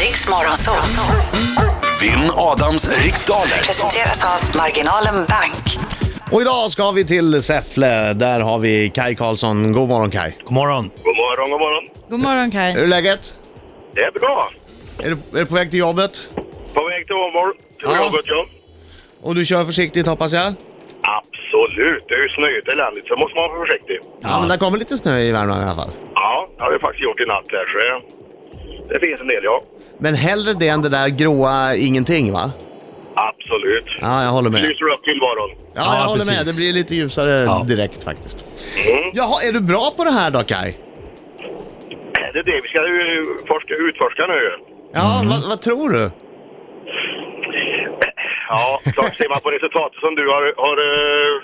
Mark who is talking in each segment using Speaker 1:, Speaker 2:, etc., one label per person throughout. Speaker 1: Riks Morgonzoo.
Speaker 2: Vinn Adams riksdaler.
Speaker 1: Presenteras av Marginalen Bank.
Speaker 3: Och idag ska vi till Säffle. Där har vi Kai Karlsson. God morgon Kai.
Speaker 4: God morgon.
Speaker 5: God morgon, god morgon.
Speaker 6: God morgon
Speaker 3: Är
Speaker 6: Kaj.
Speaker 3: det läget?
Speaker 5: Det är bra.
Speaker 3: Är du, är du på väg till jobbet?
Speaker 5: På väg till Åmål. Till
Speaker 3: Ja.
Speaker 5: något jobb.
Speaker 3: Och du kör försiktigt hoppas jag? Ja,
Speaker 5: Absolut. Det är ju snöigt eländigt, så måste man vara försiktig.
Speaker 3: men det kommer lite snö i Värmland i alla fall.
Speaker 5: Ja, det har vi faktiskt gjort i natt här, så det finns en del, ja.
Speaker 3: Men hellre det än det där gråa ingenting va?
Speaker 5: Absolut.
Speaker 3: Ja, jag håller med.
Speaker 5: Lyser upp tillvaron.
Speaker 3: Ja, jag
Speaker 4: Ja,
Speaker 3: håller med. Det
Speaker 4: precis.
Speaker 3: blir lite ljusare
Speaker 4: Ja.
Speaker 3: direkt faktiskt.
Speaker 5: Mm.
Speaker 3: Jaha, är du bra på det här då Kai?
Speaker 5: Det är det vi ska ju forska, utforska nu.
Speaker 3: Ja, vad, vad tror du?
Speaker 5: Ja, klart ser man på resultatet som du har, har eh,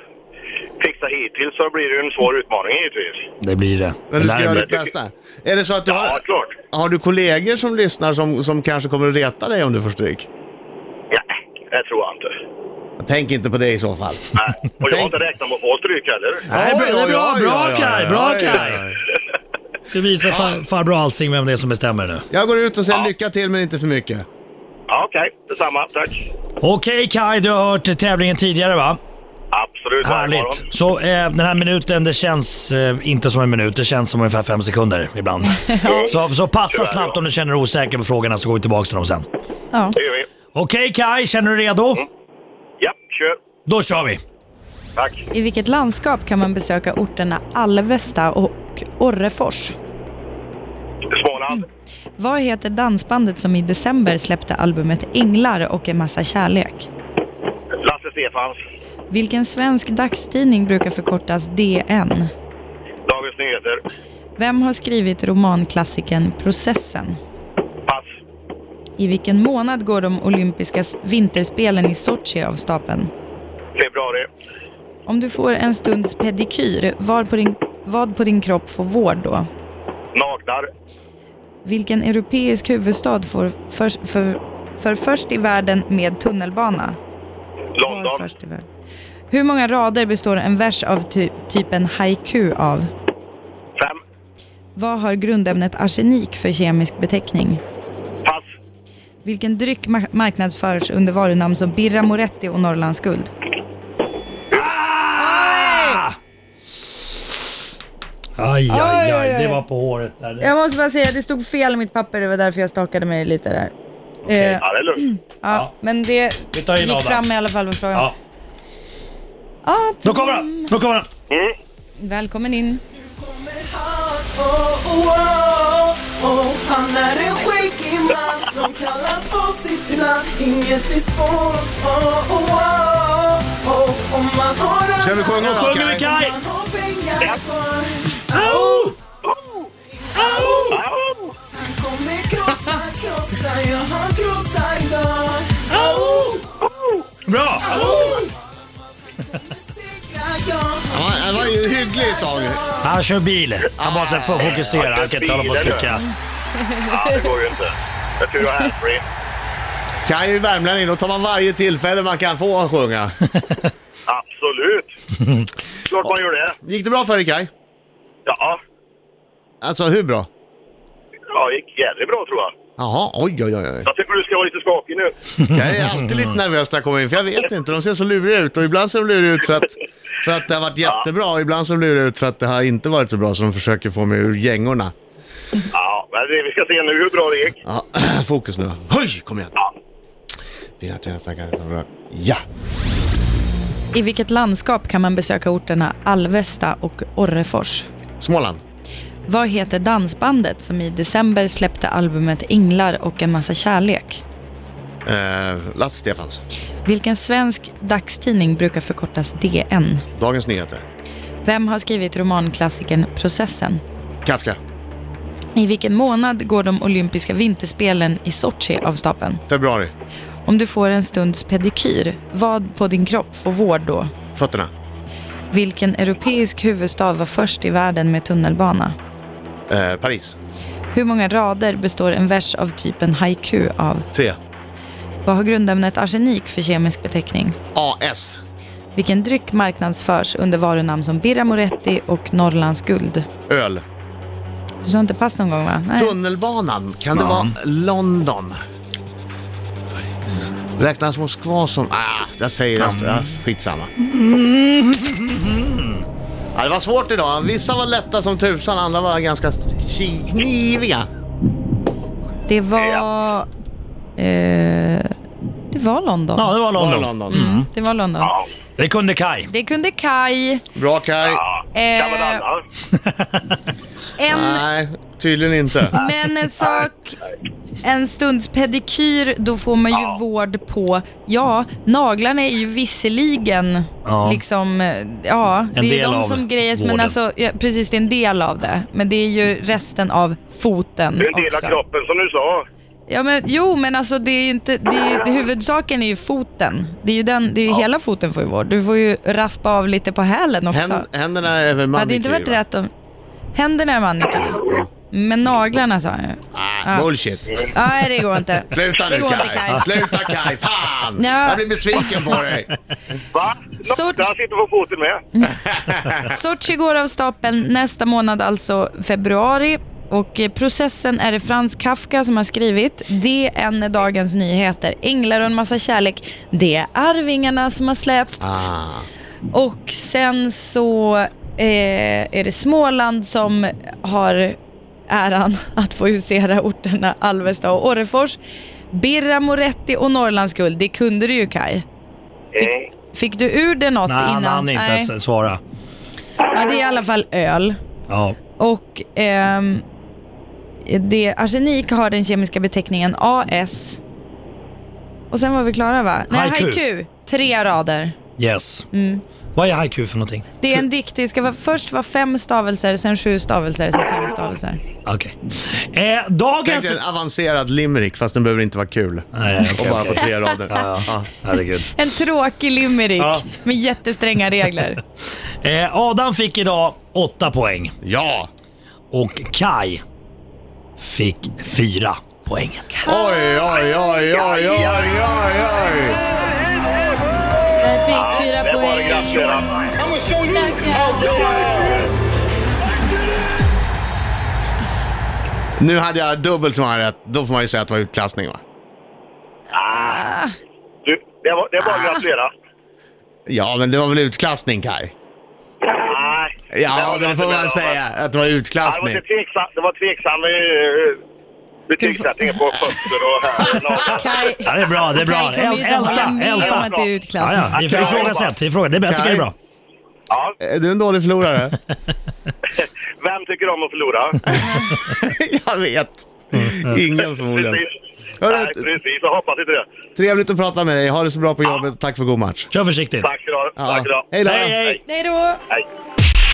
Speaker 5: fixat hittills så blir det ju en svår utmaning givetvis.
Speaker 4: Det blir det.
Speaker 3: Men du ska
Speaker 4: Lär
Speaker 3: göra
Speaker 4: mig.
Speaker 3: ditt bästa. Är det så att du
Speaker 5: Ja,
Speaker 3: har,
Speaker 5: klart.
Speaker 3: har du kollegor som lyssnar som, som kanske kommer att reta dig om du får stryk?
Speaker 5: Nej, det tror jag inte.
Speaker 3: Tänk inte på det i så fall.
Speaker 5: Nej. Och jag har
Speaker 3: Tänk-
Speaker 5: inte räknat med att få stryk heller.
Speaker 4: Nej, bra,
Speaker 3: Oj, oj,
Speaker 4: bra,
Speaker 3: oj,
Speaker 4: bra
Speaker 3: oj, oj,
Speaker 4: Kaj,
Speaker 3: oj,
Speaker 4: bra
Speaker 3: oj, oj,
Speaker 4: Kaj.
Speaker 3: oj.
Speaker 4: Ska visa far, farbror Alsing vem det är som bestämmer nu.
Speaker 3: Jag går ut och säger lycka till men inte för mycket.
Speaker 5: Ja, okej. Detsamma. Tack.
Speaker 4: Okej Kaj, du har hört tävlingen tidigare va?
Speaker 5: Absolut.
Speaker 4: Härligt. Så eh, den här minuten, det känns eh, inte som en minut. Det känns som ungefär fem sekunder ibland. så, så passa
Speaker 5: Tyvärr,
Speaker 4: snabbt
Speaker 5: ja.
Speaker 4: om du känner dig osäker på frågorna så går vi tillbaka till dem sen.
Speaker 6: Ja.
Speaker 5: Det gör vi.
Speaker 4: Okej Kai, känner du dig redo?
Speaker 3: Mm.
Speaker 5: Ja, kör.
Speaker 4: Då kör vi!
Speaker 5: Tack.
Speaker 6: I vilket landskap kan man besöka orterna Alvesta och Orrefors?
Speaker 5: Småland.
Speaker 6: Vad heter dansbandet som i december släppte albumet Änglar och en massa kärlek? Mm.
Speaker 5: Lasse Stefans.
Speaker 6: Vilken svensk dagstidning brukar förkortas DN?
Speaker 5: Dagens Nyheter.
Speaker 6: Vem har skrivit romanklassikern Processen?
Speaker 5: Pass.
Speaker 6: I vilken månad går de olympiska s- vinterspelen i Sochi av stapeln?
Speaker 5: Februari.
Speaker 6: Om du får en stunds pedikyr, var på din, vad på din kropp får vård då?
Speaker 5: Naglar.
Speaker 6: Vilken europeisk huvudstad får för, för, för först i världen med tunnelbana? Var
Speaker 5: London.
Speaker 6: först i världen. Hur många rader består en vers av ty, typen haiku av?
Speaker 5: Fem.
Speaker 6: Vad har grundämnet arsenik för kemisk beteckning?
Speaker 5: Pass.
Speaker 6: Vilken dryck ma- marknadsförs under varunamn som Birra Moretti och Norrlands guld?
Speaker 4: Aj, aj,
Speaker 6: Oj,
Speaker 4: aj.
Speaker 6: oj, oj.
Speaker 4: Det var på håret. Där.
Speaker 6: Jag måste bara säga, det stod fel i mitt papper. Det var därför jag stakade mig lite där. Eh,
Speaker 5: Ja, det är lugnt.
Speaker 6: ja, men det
Speaker 4: Ah, Vi tar in
Speaker 6: gick
Speaker 4: Adam.
Speaker 6: fram i alla fall på frågan.
Speaker 4: Ja.
Speaker 6: Ah,
Speaker 4: Då kommer han! Då kommer han!
Speaker 6: Välkommen in.
Speaker 7: Oh, oh, oh, oh. Han är en skäggig man som kallas på sitt namn Inget är svårt oh, oh, oh, oh. Om man har
Speaker 3: Ska vi sjunga då
Speaker 4: Sjunger vi
Speaker 3: Kaj?
Speaker 4: Kaj?
Speaker 7: Man har pengar kvar
Speaker 4: Au!
Speaker 5: Au!
Speaker 7: Han kommer krossa, krossa, ja han krossar idag
Speaker 4: Bra!
Speaker 7: Segra, ja
Speaker 3: Ja, det var ju en hygglig sång.
Speaker 4: Han kör bil. Han måste få fokusera. Han kan inte hålla på och skrika.
Speaker 5: Ja, det går ju inte. Det är tur att ha handsfree.
Speaker 3: Kaj är ju värmlänning, då tar man varje tillfälle man kan få att sjunga.
Speaker 5: Absolut. Klart man gör det.
Speaker 3: Gick det bra för dig Kaj?
Speaker 5: Ja,
Speaker 3: Alltså hur bra?
Speaker 5: ja det gick jävligt bra tror jag.
Speaker 3: Jaha, oj oj oj. oj.
Speaker 5: Jag tycker du ska vara lite skakig nu.
Speaker 3: Jag är alltid lite nervös när jag kommer in, för jag vet inte. De ser så luriga ut och ibland ser de luriga ut för att, för att det har varit jättebra och ibland ser de luriga ut för att det har inte varit så bra så de försöker få mig ur gängorna.
Speaker 5: Ja, men det vi ska se nu hur bra det gick.
Speaker 3: Ja, fokus nu. Höj, kom igen.
Speaker 5: Ja.
Speaker 3: Dina träna snackar som rör. Ja!
Speaker 6: I vilket landskap kan man besöka orterna Alvesta och Orrefors?
Speaker 3: Småland.
Speaker 6: Vad heter dansbandet som i december släppte albumet Änglar och en massa kärlek?
Speaker 3: Eh, Lasse Stefans.
Speaker 6: Vilken svensk dagstidning brukar förkortas DN?
Speaker 3: Dagens Nyheter.
Speaker 6: Vem har skrivit romanklassikern Processen?
Speaker 3: Kafka.
Speaker 6: I vilken månad går de olympiska vinterspelen i Sochi av stapeln?
Speaker 3: Februari.
Speaker 6: Om du får en stunds pedikyr, vad på din kropp får vård då?
Speaker 3: Fötterna.
Speaker 6: Vilken europeisk huvudstad var först i världen med tunnelbana?
Speaker 3: Eh, Paris.
Speaker 6: Hur många rader består en vers av typen haiku av?
Speaker 3: Tre.
Speaker 6: Vad har grundämnet arsenik för kemisk beteckning?
Speaker 3: AS.
Speaker 6: Vilken dryck marknadsförs under varunamn som Birra Moretti och Norrlands guld?
Speaker 3: Öl.
Speaker 6: Du sa inte pass någon gång va? Nej.
Speaker 3: Tunnelbanan, kan det vara London? Räknas Moskva som... Ah, jag säger det. Ah, skitsamma. Ja, det var svårt idag. Vissa var lätta som tusan, andra var ganska ki- kniviga.
Speaker 6: Det var... Eh, det var London. Mm.
Speaker 4: Ja, det
Speaker 3: Var
Speaker 4: var London.
Speaker 3: London.
Speaker 6: Det var London.
Speaker 4: Det kunde Kai.
Speaker 6: Det kunde Kai.
Speaker 3: Bra Kaj.
Speaker 5: Kan man
Speaker 6: Eh,
Speaker 5: alla?
Speaker 6: en,
Speaker 3: Nej, tydligen inte.
Speaker 6: men en sak... En stunds pedikyr, då får man ju vård på... Ja, naglarna är ju visserligen
Speaker 4: Ja.
Speaker 6: liksom... eh, Ja, det är ju
Speaker 4: del av
Speaker 6: de som grejas, men
Speaker 4: vården.
Speaker 6: alltså... Ja, precis, det är en del av det. Men det är ju resten av foten
Speaker 5: Det är en del av
Speaker 6: också.
Speaker 5: kroppen som du sa.
Speaker 6: Ja, men, jo, men alltså det är ju inte, det är ju, det, huvudsaken är ju foten. Det är ju, den, det är ju hela foten får ju vård. Du får ju raspa av lite på hälen också.
Speaker 3: Hän, händerna är väl
Speaker 6: Hade det
Speaker 3: manikyr?
Speaker 6: inte varit
Speaker 3: va?
Speaker 6: rätt om... Händerna är manikyr. Men naglarna sa jag ju.
Speaker 3: Ah, bullshit.
Speaker 6: Nej, det går inte.
Speaker 3: Sluta nu
Speaker 6: Det går inte,
Speaker 3: Kaj.
Speaker 6: Kaj.
Speaker 3: Sluta Kaj, fan!
Speaker 6: Ja.
Speaker 3: Jag blir besviken på dig.
Speaker 5: Va?
Speaker 6: Så-
Speaker 5: Någonstans sitter på foten med.
Speaker 6: Sochi går av stapeln nästa månad, alltså februari. Och eh, processen är det Frans Kafka som har skrivit. DN är Dagens Nyheter. Änglar och en massa kärlek. Det är Arvingarna som har släppts.
Speaker 3: Ah.
Speaker 6: Och sen så eh, är det Småland som har äran att få husera orterna Alvesta och Orrefors. Birra, Moretti och Norrlandsguld, det kunde du ju Kaj.
Speaker 5: Nej.
Speaker 6: Fick du ur det något
Speaker 4: Nej, han
Speaker 6: innan?
Speaker 4: hann inte alltså.
Speaker 6: Nej.
Speaker 4: ens svara.
Speaker 6: Ja, det är i alla fall öl.
Speaker 4: Ja.
Speaker 6: Och ehm, det, arsenik har den kemiska beteckningen AS. Och sen var vi klara va? Nej,
Speaker 4: Haiku.
Speaker 6: haiku. Tre rader.
Speaker 4: Yes.
Speaker 6: Mm.
Speaker 4: Vad är haiku för någonting?
Speaker 6: Det är en dikt. Det ska vara, först vara fem stavelser, sen sju stavelser, sen fem stavelser.
Speaker 4: Okej. Eh, dagens...
Speaker 3: Tänk dig en avancerad limerick fast den behöver inte vara kul.
Speaker 4: Nej, okej,
Speaker 3: Och bara på
Speaker 4: okej.
Speaker 3: tre rader.
Speaker 4: Ja, ja. Herregud.
Speaker 6: En tråkig limerick
Speaker 3: Ja.
Speaker 6: med jättestränga regler.
Speaker 4: Eh, Adam fick idag åtta poäng
Speaker 3: Ja!
Speaker 4: och Kai fick fyra poäng.
Speaker 3: Oj, oj, oj, oj, oj, oj, oj!
Speaker 6: Jag fick fyra
Speaker 5: Det var det
Speaker 6: poäng.
Speaker 5: gratulerar.
Speaker 3: Nu hade jag dubbelt så många rätt. Då får man ju säga att det var utklassning va?
Speaker 5: Du, det var det var gratulerar.
Speaker 3: Ja, men det var väl utklassning Kaj?
Speaker 5: Nej.
Speaker 3: Ja,
Speaker 5: det
Speaker 3: det får man
Speaker 5: inte-
Speaker 3: säga att det var
Speaker 5: Ja, Det var
Speaker 3: utklassning.
Speaker 5: lite tveksam, det var tveksam eh, betygssättning på fötter och här.
Speaker 6: Kaj,
Speaker 4: Ja, det är bra, det är bra.
Speaker 6: Kaj kommer ju inte hålla
Speaker 4: Älta,
Speaker 6: med om att
Speaker 4: älta.
Speaker 6: det är
Speaker 4: Ja,
Speaker 6: utklassning.
Speaker 4: ja. Ifrågasätt, ifrågasätt. Det är bra, jag tycker det är bra.
Speaker 5: Ja,
Speaker 3: Är du en dålig förlorare?
Speaker 5: vem tycker om att förlora?
Speaker 3: jag vet. Ingen förmodligen.
Speaker 5: Precis.
Speaker 3: Hörru,
Speaker 5: Nej, precis. Jag hoppas inte det.
Speaker 3: Trevligt att prata med dig. Ha det så bra på jobbet. Tack för god match.
Speaker 4: Kör försiktigt.
Speaker 5: Tack ska du ha. Tack ska du ha.
Speaker 3: Hej då.
Speaker 4: Hej, hej.
Speaker 6: Hej då!
Speaker 5: Hej.